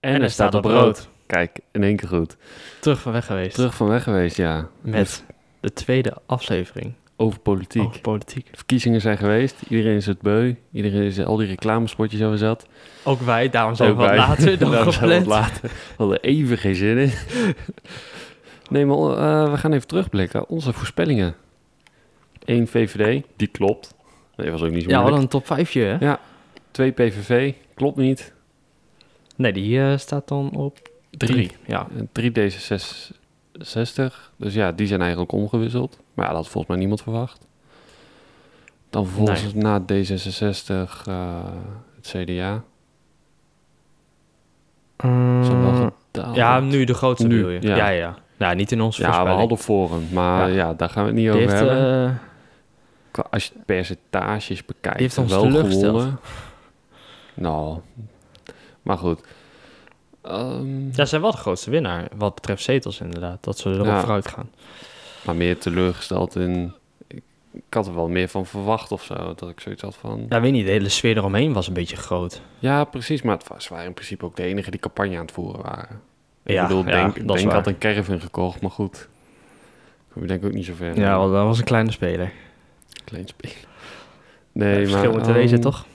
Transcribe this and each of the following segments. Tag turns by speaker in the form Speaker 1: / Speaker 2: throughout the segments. Speaker 1: En, er staat op rood. Kijk, in één keer goed.
Speaker 2: Terug van weg geweest.
Speaker 1: Terug van weg geweest, ja.
Speaker 2: Met de tweede aflevering
Speaker 1: Over politiek.
Speaker 2: over politiek.
Speaker 1: Verkiezingen zijn geweest. Iedereen is het beu. Iedereen is al die reclamespotjes over zat.
Speaker 2: Ook wij, daarom zijn we
Speaker 1: Ook
Speaker 2: wat
Speaker 1: wij.
Speaker 2: later dan
Speaker 1: Daarom zijn we wat
Speaker 2: gepland.
Speaker 1: later. We hadden even geen zin in. Nee, maar eh, we gaan even terugblikken. Onze voorspellingen. 1 VVD, die klopt. Nee, was ook niet zo
Speaker 2: Ja,
Speaker 1: moeilijk.
Speaker 2: wat een top 5 hè?
Speaker 1: Ja. 2 PVV, klopt niet.
Speaker 2: Nee, die eh, staat dan op
Speaker 1: Drie.
Speaker 2: 3. Ja.
Speaker 1: En 3 D66. Dus ja, die zijn eigenlijk omgewisseld. Maar ja, dat had volgens mij niemand verwacht. Dan vervolgens na D66 eh, het CDA. Is dat wel gedaald?
Speaker 2: Mm, ja, nu de grootste
Speaker 1: Oh. Nu,
Speaker 2: bedoel je. Ja,
Speaker 1: ja.
Speaker 2: ja. ja. Nou, niet in onze
Speaker 1: ja, we
Speaker 2: voorspelling.
Speaker 1: hadden Forum, maar
Speaker 2: Ja.
Speaker 1: ja. daar gaan we het niet
Speaker 2: die
Speaker 1: over
Speaker 2: heeft,
Speaker 1: hebben.
Speaker 2: eh,
Speaker 1: Qua- Als je het percentages bekijkt,
Speaker 2: Die heeft ons
Speaker 1: wel
Speaker 2: teleurgesteld.
Speaker 1: gewonnen. Nou, maar goed. Ehm,
Speaker 2: ja, ze zijn wel de grootste winnaar wat betreft zetels inderdaad. Dat ze erop
Speaker 1: Ja.
Speaker 2: vooruit gaan.
Speaker 1: Maar meer teleurgesteld in... Ik, ik had er wel meer van verwacht of zo. Dat ik zoiets had van...
Speaker 2: Ja, weet niet. De hele sfeer eromheen was een beetje groot.
Speaker 1: Ja, precies. Maar het was, ze waren in principe ook de enige die campagne aan het voeren waren.
Speaker 2: Ja,
Speaker 1: ik bedoel,
Speaker 2: ja,
Speaker 1: Denk,
Speaker 2: dat is
Speaker 1: denk
Speaker 2: waar.
Speaker 1: had een caravan gekocht, maar goed. Ik denk ook niet zo ver. eh,
Speaker 2: Ja, want dat was een kleine speler.
Speaker 1: Klein spelen. Nee, maar...
Speaker 2: Verschil met de wezen,
Speaker 1: ehm,
Speaker 2: toch?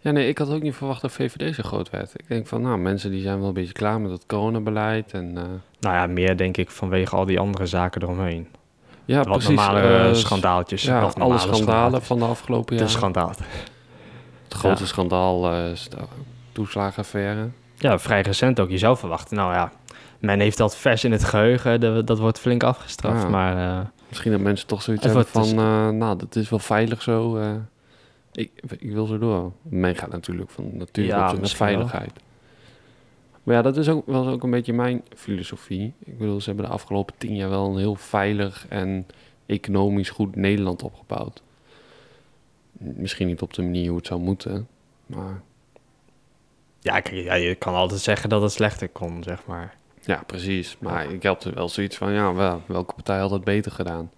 Speaker 1: Ja, nee, ik had ook niet verwacht dat VVD zo groot werd. Ik denk van, nou, mensen die zijn wel een beetje klaar met dat coronabeleid. En, eh,
Speaker 2: Nou ja, meer denk ik vanwege al die andere zaken eromheen.
Speaker 1: ja,
Speaker 2: Wat
Speaker 1: precies.
Speaker 2: normale
Speaker 1: eh,
Speaker 2: eh,
Speaker 1: s-
Speaker 2: schandaaltjes.
Speaker 1: Ja,
Speaker 2: of
Speaker 1: alle
Speaker 2: normale
Speaker 1: schandalen
Speaker 2: schandaaltjes.
Speaker 1: van de afgelopen
Speaker 2: De
Speaker 1: jaren.
Speaker 2: schandaal.
Speaker 1: het grote schandaal, eh, is de toeslagenaffaire.
Speaker 2: Ja, vrij recent ook. Je zou verwachten, nou ja, men heeft dat vers in het geheugen. de- dat wordt flink afgestraft.
Speaker 1: Ja.
Speaker 2: Maar eh,
Speaker 1: Misschien dat mensen toch zoiets
Speaker 2: Het
Speaker 1: hebben van,
Speaker 2: wordt
Speaker 1: eh, nou, dat is wel veilig zo. eh, ik, ik wil zo door. Men gaat natuurlijk van natuur
Speaker 2: Ja,
Speaker 1: op zoek naar
Speaker 2: misschien wel.
Speaker 1: veiligheid. Maar ja, dat is ook, was ook een beetje mijn filosofie. Ik bedoel, ze hebben de afgelopen tien jaar wel een heel veilig en economisch goed Nederland opgebouwd. Misschien niet op de manier hoe het zou moeten, maar
Speaker 2: ja, kijk, ja, je kan altijd zeggen dat het slechter kon, zeg maar.
Speaker 1: Ja, precies. Maar ik had er wel zoiets van, ja, wel, welke partij had dat beter gedaan?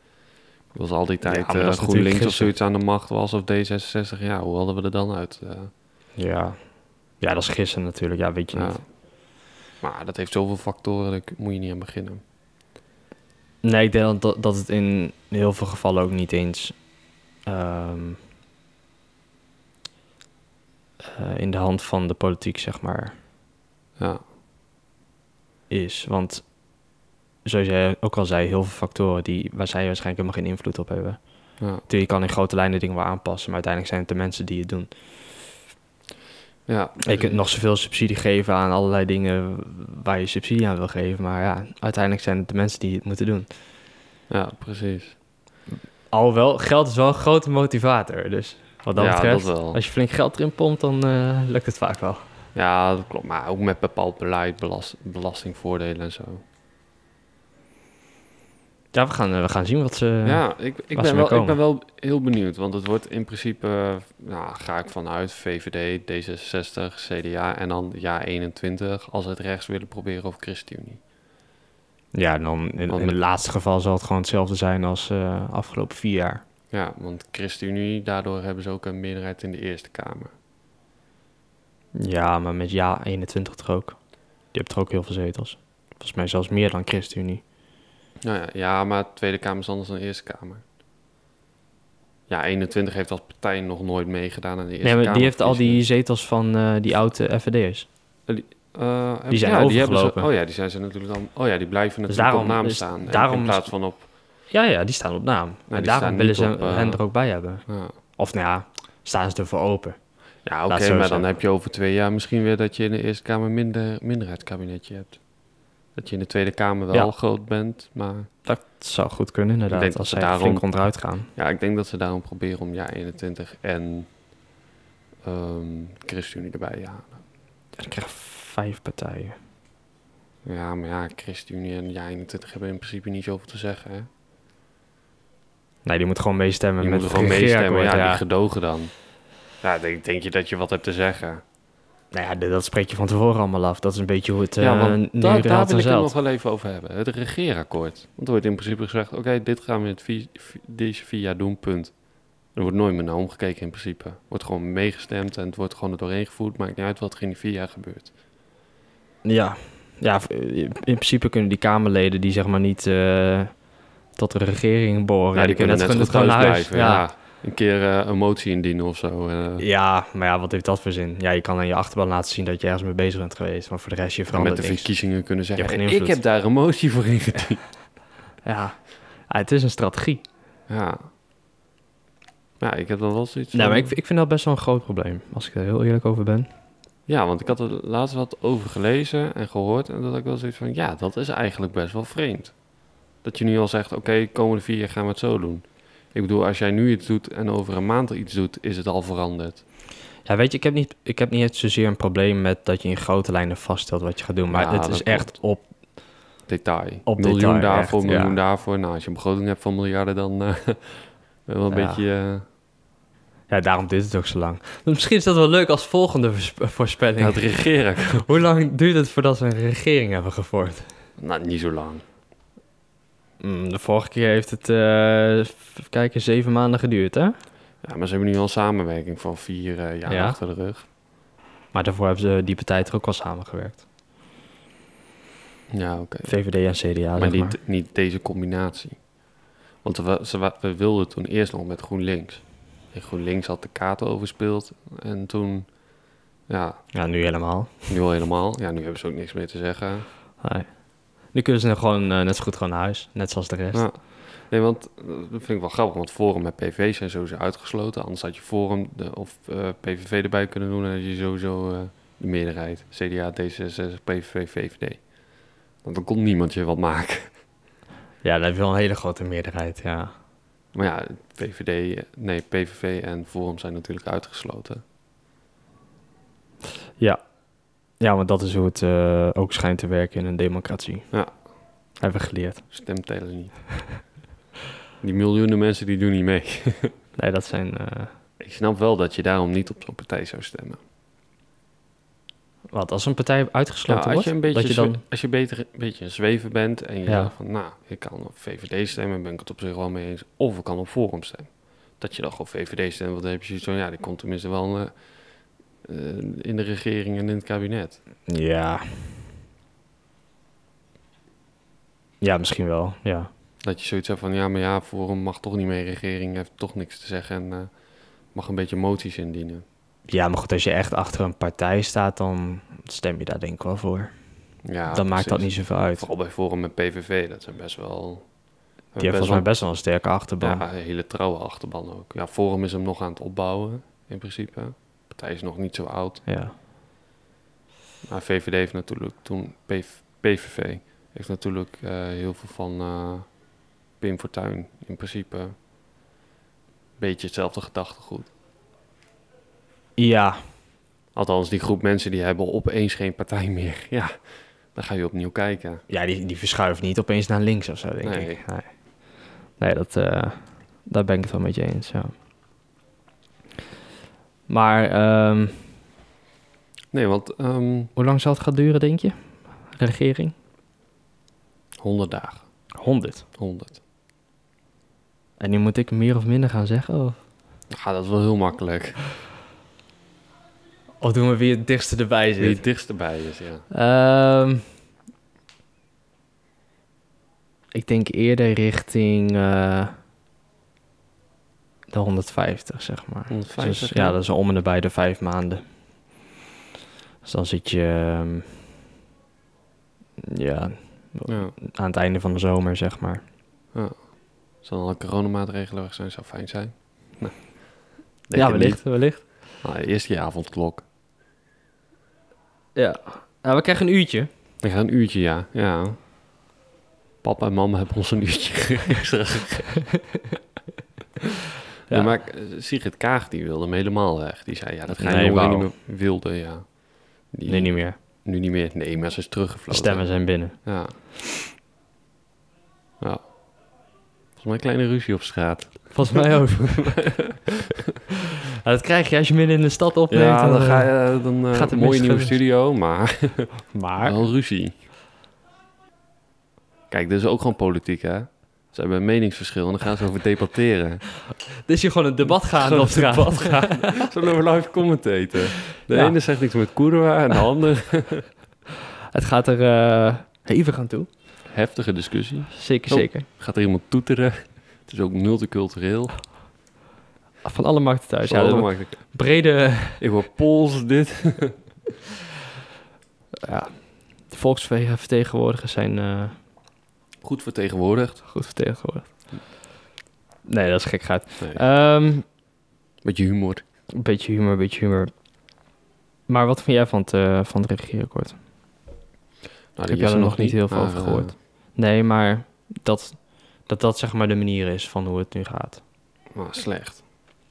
Speaker 1: Ik was al die tijd
Speaker 2: maar dat
Speaker 1: eh,
Speaker 2: is natuurlijk
Speaker 1: GroenLinks of
Speaker 2: gisteren.
Speaker 1: zoiets aan de macht was, of D66. Ja, hoe hadden we er dan uit? eh?
Speaker 2: Ja, ja dat is gisteren natuurlijk. Ja, weet je
Speaker 1: ja.
Speaker 2: niet.
Speaker 1: Maar dat heeft zoveel factoren, daar k- moet je niet aan beginnen.
Speaker 2: Nee, ik denk dat, dat het in heel veel gevallen ook niet eens ehm, eh, in de hand van de politiek, zeg maar,
Speaker 1: Ja,
Speaker 2: is. Want zoals jij ook al zei, heel veel factoren die, waar zij waarschijnlijk helemaal geen invloed op hebben.
Speaker 1: ja.
Speaker 2: Natuurlijk, je kan in grote lijnen dingen wel aanpassen, maar uiteindelijk zijn het de mensen die het doen.
Speaker 1: ja dus-
Speaker 2: Je kunt nog zoveel subsidie geven aan allerlei dingen waar je subsidie aan wil geven, maar ja, uiteindelijk zijn het de mensen die het moeten doen.
Speaker 1: ja, precies.
Speaker 2: Alhoewel, geld is wel een grote motivator, dus wat dat
Speaker 1: ja,
Speaker 2: betreft.
Speaker 1: dat wel.
Speaker 2: Als je flink geld erin pompt, dan eh, lukt het vaak wel.
Speaker 1: Ja, dat klopt. Maar ook met bepaald beleid, belast, belastingvoordelen en zo.
Speaker 2: Ja, we gaan, eh, we gaan zien wat ze...
Speaker 1: Ja, ik, ik,
Speaker 2: Waar ze
Speaker 1: ben
Speaker 2: mee
Speaker 1: wel, ik
Speaker 2: komen.
Speaker 1: ben wel heel benieuwd. Want het wordt in principe, eh, nou, ga ik vanuit, VVD, D66, CDA en dan ja 21 als ze het rechts willen proberen of ChristenUnie.
Speaker 2: ja en dan in, in het laatste geval zal het gewoon hetzelfde zijn als eh afgelopen vier jaar.
Speaker 1: Ja, want ChristenUnie, daardoor hebben ze ook een meerderheid in de Eerste Kamer.
Speaker 2: Ja, maar met ja 21 toch ook. Je hebt er ook heel veel zetels. Volgens mij zelfs meer dan ChristenUnie.
Speaker 1: Nou ja, ja, maar de Tweede Kamer is anders dan de Eerste Kamer. Ja, 21 heeft als partij nog nooit meegedaan aan de Eerste
Speaker 2: nee, maar
Speaker 1: Kamer.
Speaker 2: die heeft al die zetels van eh, die oude FVD'ers.
Speaker 1: die
Speaker 2: zijn
Speaker 1: Eh, ja, die hebben ze-
Speaker 2: overgelopen.
Speaker 1: oh ja, die zijn ze natuurlijk dan. Oh ja, die blijven natuurlijk
Speaker 2: daarom-
Speaker 1: op naam
Speaker 2: dus
Speaker 1: staan. en
Speaker 2: daarom-
Speaker 1: in plaats van op.
Speaker 2: Ja, ja, die staan op naam. en
Speaker 1: die
Speaker 2: daarom
Speaker 1: staan
Speaker 2: willen
Speaker 1: niet
Speaker 2: ze
Speaker 1: op, eh,
Speaker 2: hen er ook bij hebben.
Speaker 1: ja.
Speaker 2: Of nou ja, staan ze ervoor open.
Speaker 1: Ja,
Speaker 2: Laat
Speaker 1: oké,
Speaker 2: het zo
Speaker 1: maar dan
Speaker 2: zeggen.
Speaker 1: heb je over twee jaar misschien weer dat je in de Eerste Kamer minder minderheidskabinetje hebt. Dat je in de Tweede Kamer wel
Speaker 2: Ja.
Speaker 1: groot bent, maar
Speaker 2: Dat zou goed kunnen
Speaker 1: Ik denk
Speaker 2: inderdaad, als
Speaker 1: dat ze
Speaker 2: zij
Speaker 1: daarom-
Speaker 2: flink onderuit gaan.
Speaker 1: ja, ik denk dat ze daarom proberen om jaar 21 en ehm ChristenUnie erbij te halen.
Speaker 2: Ja, dan krijg je vijf partijen.
Speaker 1: Ja, maar ja, ChristenUnie en jaar 21 hebben in principe niet zoveel te zeggen, hè?
Speaker 2: Nee, die moet gewoon meestemmen
Speaker 1: Je
Speaker 2: met
Speaker 1: moet er
Speaker 2: het
Speaker 1: gewoon meestemmen, ja,
Speaker 2: regeerakkoord,
Speaker 1: die gedogen dan. Ja, denk, denk je dat je wat hebt te zeggen?
Speaker 2: Nou ja, d- dat spreek je van tevoren allemaal af. Dat is een beetje hoe het eh
Speaker 1: ja, want daar, daar wil ik het nog
Speaker 2: zelf.
Speaker 1: wel even over hebben. Het regeerakkoord. Want er wordt in principe gezegd, oké, dit gaan we in het vi- vi- deze vier jaar doen, punt. Er wordt nooit meer naar omgekeken in principe.
Speaker 2: Oh,
Speaker 1: Er wordt gewoon meegestemd en het wordt gewoon er doorheen gevoerd. Maakt niet uit wat er in die vier jaar gebeurt.
Speaker 2: Ja, ja v- eh, in principe kunnen die Kamerleden die zeg maar niet eh, tot de regering boren.
Speaker 1: Ja, Nou, die kunnen net
Speaker 2: het
Speaker 1: zo goed thuis blijven. Ja.
Speaker 2: Ja.
Speaker 1: Een keer eh, een motie indienen of zo. eh.
Speaker 2: Ja, maar ja, wat heeft dat voor zin? Ja, je kan aan je achterban laten zien dat je ergens mee bezig bent geweest. Maar voor de rest, je
Speaker 1: en met
Speaker 2: verandert
Speaker 1: de
Speaker 2: niks.
Speaker 1: verkiezingen kunnen zeggen...
Speaker 2: hebt geen
Speaker 1: ik
Speaker 2: invloed.
Speaker 1: heb daar een motie voor ingediend.
Speaker 2: Ja. ja, het is een strategie.
Speaker 1: ja. Ja, ik heb dan wel zoiets
Speaker 2: Nee,
Speaker 1: van-
Speaker 2: Nou, maar ik, ik vind dat best wel een groot probleem. Als ik er heel eerlijk over ben.
Speaker 1: Ja, want ik had er laatst wat over gelezen en gehoord. En dat had ik wel zoiets van, ja, dat is eigenlijk best wel vreemd. Dat je nu al zegt, oké, komende vier jaar gaan we het zo doen. Ik bedoel, als jij nu iets doet en over een maand iets doet, is het al veranderd.
Speaker 2: Ja, weet je, ik heb niet, ik heb niet zozeer een probleem met dat je in grote lijnen vaststelt wat je gaat doen. Maar
Speaker 1: Ja,
Speaker 2: het
Speaker 1: dat
Speaker 2: is
Speaker 1: klopt.
Speaker 2: echt op.
Speaker 1: Detail.
Speaker 2: Op
Speaker 1: miljoen
Speaker 2: detail,
Speaker 1: daarvoor,
Speaker 2: echt,
Speaker 1: miljoen
Speaker 2: ja.
Speaker 1: daarvoor. Nou, als je een begroting hebt van miljarden, dan eh, ben je wel een
Speaker 2: Ja.
Speaker 1: beetje... eh,
Speaker 2: Ja, daarom duurt het ook zo lang. Maar misschien is dat wel leuk als volgende vers- voorspelling.
Speaker 1: aan het eh, regeren.
Speaker 2: Hoe lang duurt het voordat we een regering hebben gevormd?
Speaker 1: nou, niet zo lang.
Speaker 2: Mm, de vorige keer heeft het, eh, even kijken, zeven maanden geduurd, hè?
Speaker 1: Ja, maar ze hebben nu al een samenwerking van vier eh, jaar
Speaker 2: Ja.
Speaker 1: achter de rug.
Speaker 2: Maar daarvoor hebben ze die partij er ook wel samengewerkt.
Speaker 1: Ja, oké.
Speaker 2: VVD en CDA,
Speaker 1: maar
Speaker 2: zeg maar.
Speaker 1: niet, niet deze combinatie. Want we, ze, wa- we wilden toen eerst nog met GroenLinks. En GroenLinks had de kaart overspeeld. En toen, ja,
Speaker 2: Ja, nu helemaal.
Speaker 1: nu al helemaal. Ja, nu hebben ze ook niks meer te zeggen.
Speaker 2: Nee. Nu kunnen ze gewoon eh, net zo goed gewoon naar huis. Net zoals de rest.
Speaker 1: Ja. Nee, want eh, dat vind ik wel grappig. Want Forum en PV zijn sowieso uitgesloten. Anders had je Forum de- of eh, PVV erbij kunnen doen. En had je sowieso eh, de meerderheid. CDA, D66, PVV, VVD. Want dan kon niemand je wat maken.
Speaker 2: Ja, dat heeft wel een hele grote meerderheid, ja.
Speaker 1: Maar ja, VVD, eh, nee, PVV en Forum zijn natuurlijk uitgesloten.
Speaker 2: Ja, want dat is hoe het eh, ook schijnt te werken in een democratie.
Speaker 1: Ja.
Speaker 2: Hebben we geleerd.
Speaker 1: Stemtellen niet. Die miljoenen mensen die doen niet mee.
Speaker 2: Nee, dat zijn... eh,
Speaker 1: Ik snap wel dat je daarom niet op zo'n partij zou stemmen.
Speaker 2: wat, als een partij
Speaker 1: Ja,
Speaker 2: uitgesloten
Speaker 1: als
Speaker 2: wordt?
Speaker 1: je een beetje,
Speaker 2: dat je
Speaker 1: zwe-
Speaker 2: dan...
Speaker 1: als je beter, een beetje een zweven bent en je
Speaker 2: Ja.
Speaker 1: zegt van, nou, ik kan op VVD stemmen, ben ik het op zich wel mee eens. Of ik kan op Forum stemmen. Dat je dan gewoon VVD stemt, want dan heb je zoiets van, ja, die komt tenminste wel eh, eh, in de regering en in het kabinet.
Speaker 2: Ja. Ja, misschien wel, ja.
Speaker 1: Dat je zoiets hebt van, ja, maar ja, Forum mag toch niet mee, regering heeft toch niks te zeggen en eh, mag een beetje moties indienen.
Speaker 2: Ja, maar goed, als je echt achter een partij staat, dan stem je daar denk ik wel voor.
Speaker 1: Ja,
Speaker 2: dan maakt dat
Speaker 1: precies.
Speaker 2: niet zoveel uit.
Speaker 1: Vooral bij Forum en PVV, dat zijn best wel...
Speaker 2: Die heeft volgens mij best wel een sterke achterban.
Speaker 1: Ja, een hele trouwe achterban ook. Ja, Forum is hem nog aan het opbouwen, in principe. De partij is nog niet zo oud.
Speaker 2: ja.
Speaker 1: Maar VVD heeft natuurlijk toen... PV, PVV heeft natuurlijk eh, heel veel van eh Pim Fortuyn, in principe. Beetje hetzelfde gedachtegoed.
Speaker 2: Ja,
Speaker 1: Althans, die groep mensen die hebben opeens geen partij meer. Ja, dan ga je opnieuw kijken.
Speaker 2: Ja, die, die verschuift niet opeens naar links of zo, denk
Speaker 1: Nee.
Speaker 2: ik. Nee, nee dat, eh, daar ben ik het wel met je eens, ja. Maar ehm,
Speaker 1: Nee, want ehm
Speaker 2: hoe lang zal het gaan duren, denk je? Regering?
Speaker 1: 100 dagen.
Speaker 2: 100.
Speaker 1: 100.
Speaker 2: En nu moet ik meer of minder gaan zeggen? Of,
Speaker 1: Ja, dat is wel heel makkelijk.
Speaker 2: of doen we wie het dichtste erbij
Speaker 1: Wie
Speaker 2: zit?
Speaker 1: het dichtst erbij is, ja.
Speaker 2: Ehm, ik denk eerder richting eh, de 150, zeg maar.
Speaker 1: 150,
Speaker 2: Dus,
Speaker 1: ja.
Speaker 2: ja, dat is om en nabij de vijf maanden. Dus dan zit je... ehm, ja,
Speaker 1: ja.
Speaker 2: aan het einde van de zomer, zeg maar.
Speaker 1: Zodat alle coronamaatregelen weg zijn, zou fijn zijn. Nou, denk
Speaker 2: Ja,
Speaker 1: het
Speaker 2: wellicht, wellicht.
Speaker 1: niet. Nou, eerst die avondklok.
Speaker 2: Ja. Nou, we krijgen een uurtje.
Speaker 1: Ik ga een uurtje, ja. ja. Papa en mama hebben ons een uurtje extra gegeven.
Speaker 2: Ja.
Speaker 1: Ja. Maar eh, Sigrid Kaag, die wilde hem helemaal weg. Die zei, ja, dat ga je
Speaker 2: Nee,
Speaker 1: jongeren
Speaker 2: wauw.
Speaker 1: niet meer wilde, ja. Die,
Speaker 2: Nee, niet meer.
Speaker 1: Nu niet meer. Nee, maar ze is
Speaker 2: De
Speaker 1: teruggevlogen.
Speaker 2: stemmen zijn binnen.
Speaker 1: Ja. Ja. Volgens mij een kleine ruzie op straat.
Speaker 2: Volgens mij ook. dat krijg je als je midden in de stad opneemt.
Speaker 1: ja, dan, ga je, dan eh,
Speaker 2: gaat het
Speaker 1: mooie
Speaker 2: mis
Speaker 1: nieuwe
Speaker 2: gebeuren.
Speaker 1: studio, maar...
Speaker 2: Maar...
Speaker 1: Wel ruzie. Kijk, dit is ook gewoon politiek, hè? Ze hebben een meningsverschil en dan gaan ze over debatteren.
Speaker 2: Dus je gewoon een debat gaan
Speaker 1: Gewoon
Speaker 2: op straat.
Speaker 1: een debat gaan. Ze hebben over live commentaten. De
Speaker 2: Ja.
Speaker 1: ene zegt iets met Koerwa en de ander...
Speaker 2: Het gaat er eh hevig aan toe.
Speaker 1: Heftige discussie.
Speaker 2: Zeker,
Speaker 1: Oh.
Speaker 2: zeker.
Speaker 1: Gaat er iemand toeteren? Het is ook multicultureel.
Speaker 2: Van alle markten thuis.
Speaker 1: Zal
Speaker 2: ja, dat
Speaker 1: allemaal-
Speaker 2: wordt brede
Speaker 1: Ik hoor Pools, dit.
Speaker 2: ja, de volksvertegenwoordigers zijn eh,
Speaker 1: Goed vertegenwoordigd.
Speaker 2: goed vertegenwoordigd. Nee, dat is gek gaat.
Speaker 1: Nee,
Speaker 2: Een
Speaker 1: Eh, Beetje humor. Nou,
Speaker 2: beetje humor, een beetje humor. Maar wat vind jij van het, eh, van het regeerakkoord?
Speaker 1: Nou,
Speaker 2: heb
Speaker 1: is
Speaker 2: jij er nog niet heel veel
Speaker 1: maar,
Speaker 2: over
Speaker 1: eh,
Speaker 2: gehoord? Nee, maar dat, dat dat zeg maar de manier is van hoe het nu gaat.
Speaker 1: maar slecht.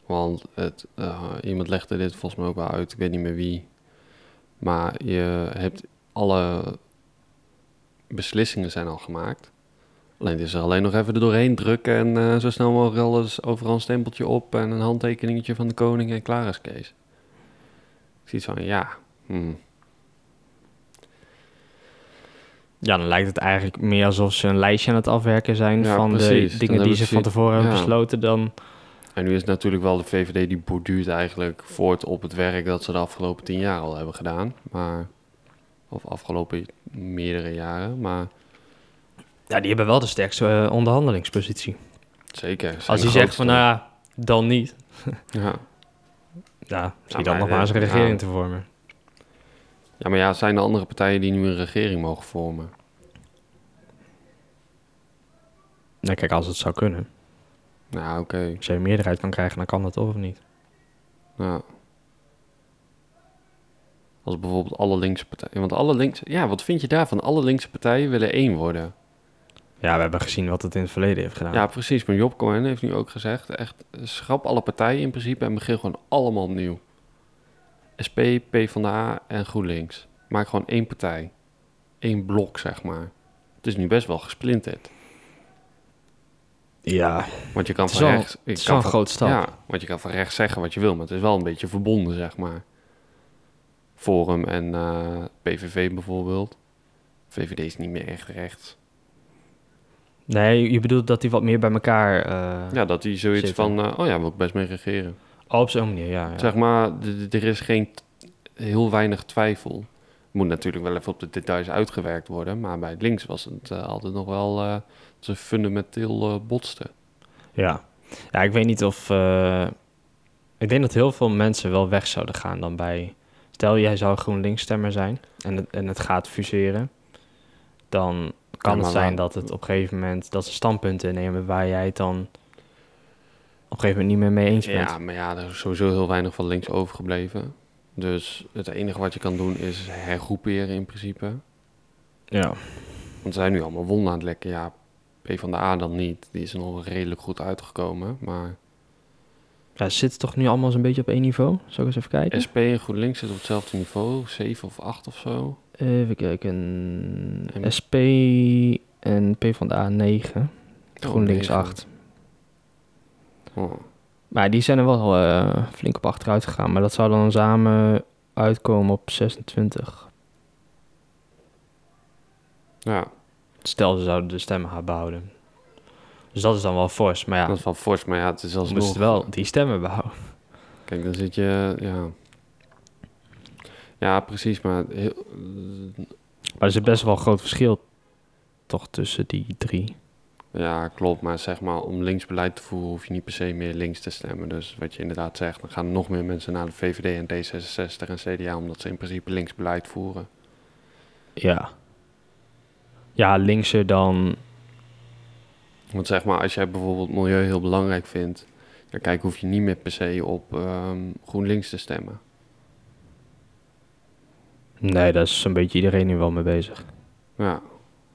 Speaker 1: Want het, eh, iemand legde dit volgens mij ook wel uit. Ik weet niet meer wie. Maar je hebt alle beslissingen zijn al gemaakt. Alleen het is er alleen nog even er doorheen drukken en eh, zo snel mogelijk alles overal een stempeltje op en een handtekeningetje van de koning en klaar is Kees. Ik zie het van ja. hmm.
Speaker 2: Ja, dan lijkt het eigenlijk meer alsof ze een lijstje aan het afwerken zijn
Speaker 1: Ja,
Speaker 2: van
Speaker 1: precies.
Speaker 2: de
Speaker 1: Dan
Speaker 2: dingen die
Speaker 1: hebben
Speaker 2: ze
Speaker 1: ze-
Speaker 2: van tevoren hebben
Speaker 1: ja.
Speaker 2: besloten. Dan,
Speaker 1: En nu is het natuurlijk wel de VVD die borduurt eigenlijk voort op het werk dat ze de afgelopen tien jaar al hebben gedaan. Maar, of afgelopen meerdere jaren, maar
Speaker 2: ja, die hebben wel de sterkste eh, onderhandelingspositie.
Speaker 1: zeker. zijn
Speaker 2: Als
Speaker 1: de
Speaker 2: je zegt van,
Speaker 1: grootste.
Speaker 2: nou ja, dan niet.
Speaker 1: Ja.
Speaker 2: Ja, zie
Speaker 1: Ja,
Speaker 2: dan
Speaker 1: maar,
Speaker 2: nog maar eens een
Speaker 1: eh,
Speaker 2: regering
Speaker 1: ja.
Speaker 2: te vormen.
Speaker 1: ja, maar ja, het zijn de andere partijen die nu een regering mogen vormen?
Speaker 2: Nou, kijk, als het zou kunnen.
Speaker 1: Nou, oké.
Speaker 2: Als je een meerderheid kan krijgen, dan kan dat toch of niet?
Speaker 1: Ja. Nou. Als bijvoorbeeld alle linkse partijen. Want alle linkse. Ja, wat vind je daarvan? Alle linkse partijen willen één worden.
Speaker 2: Ja, we hebben gezien wat het in het verleden heeft gedaan.
Speaker 1: Ja, precies. Maar Job Cohen heeft nu ook gezegd: echt schrap alle partijen in principe en begin gewoon allemaal opnieuw. SP, PvdA en GroenLinks. Maak gewoon één partij. Eén blok, zeg maar. Het is nu best wel gesplinterd.
Speaker 2: ja
Speaker 1: Want je kan
Speaker 2: Het is
Speaker 1: van
Speaker 2: wel-
Speaker 1: rechts.
Speaker 2: het is
Speaker 1: ik kan
Speaker 2: wel een
Speaker 1: van-
Speaker 2: groot stap.
Speaker 1: Ja, want je kan van rechts zeggen wat je wil, maar het is wel een beetje verbonden, zeg maar. Forum en eh, PVV bijvoorbeeld. VVD is niet meer echt rechts.
Speaker 2: Nee, je bedoelt dat die wat meer bij elkaar... eh,
Speaker 1: Ja, dat hij zoiets
Speaker 2: Zeker.
Speaker 1: van, eh, oh ja, wil ik best mee regeren.
Speaker 2: oh, op zo'n manier, ja. ja.
Speaker 1: Zeg maar, d- d- er is geen t- heel weinig twijfel. Moet natuurlijk wel even op de details uitgewerkt worden, maar bij links was het eh, altijd nog wel eh dat ze fundamenteel eh, botsten.
Speaker 2: Ja. ja, ik weet niet of... eh, ik denk dat heel veel mensen wel weg zouden gaan dan bij... Stel, jij zou GroenLinks stemmer zijn en het, en het gaat fuseren. Dan kan
Speaker 1: Ja,
Speaker 2: het
Speaker 1: maar waar-
Speaker 2: zijn dat het op een gegeven moment... dat ze standpunten innemen waar jij het dan op een gegeven moment niet meer mee eens bent.
Speaker 1: Ja, maar ja, er is sowieso heel weinig van links overgebleven. Dus het enige wat je kan doen is hergroeperen in principe.
Speaker 2: ja.
Speaker 1: Want ze zijn nu allemaal wonden aan het lekken. Ja, P van de A dan niet. Die is er nog redelijk goed uitgekomen. Maar
Speaker 2: Ja, ze zitten toch nu allemaal zo'n beetje op één niveau? Zal ik eens even kijken?
Speaker 1: SP en GroenLinks zitten op hetzelfde niveau. 7 of 8 of zo.
Speaker 2: Eh, Even kijken.
Speaker 1: En-
Speaker 2: SP en P van de A9. GroenLinks
Speaker 1: Oh, negen.
Speaker 2: 8.
Speaker 1: Oh.
Speaker 2: Maar die zijn er wel eh, flink op achteruit gegaan. Maar dat zou dan samen uitkomen op 26.
Speaker 1: Ja,
Speaker 2: Stel, ze zouden de stemmen gaan behouden. Dus dat is dan wel fors. Maar ja,
Speaker 1: dat is wel fors. Maar ja, het is
Speaker 2: dan moeten
Speaker 1: alsnog...
Speaker 2: ze wel die stemmen behouden.
Speaker 1: Kijk, dan zit je... Ja, ja precies. Maar heel-
Speaker 2: Maar er zit best wel een groot verschil toch tussen die drie.
Speaker 1: Ja, klopt. Maar zeg maar, om linksbeleid te voeren hoef je niet per se meer links te stemmen. Dus wat je inderdaad zegt, dan gaan nog meer mensen naar de VVD en D66 en CDA, omdat ze in principe linksbeleid voeren.
Speaker 2: Ja. Ja, linkser dan...
Speaker 1: Want zeg maar, als jij bijvoorbeeld milieu heel belangrijk vindt, dan kijk, hoef je niet meer per se op ehm, GroenLinks te stemmen.
Speaker 2: Nee, daar is een beetje iedereen nu wel mee bezig.
Speaker 1: Ja,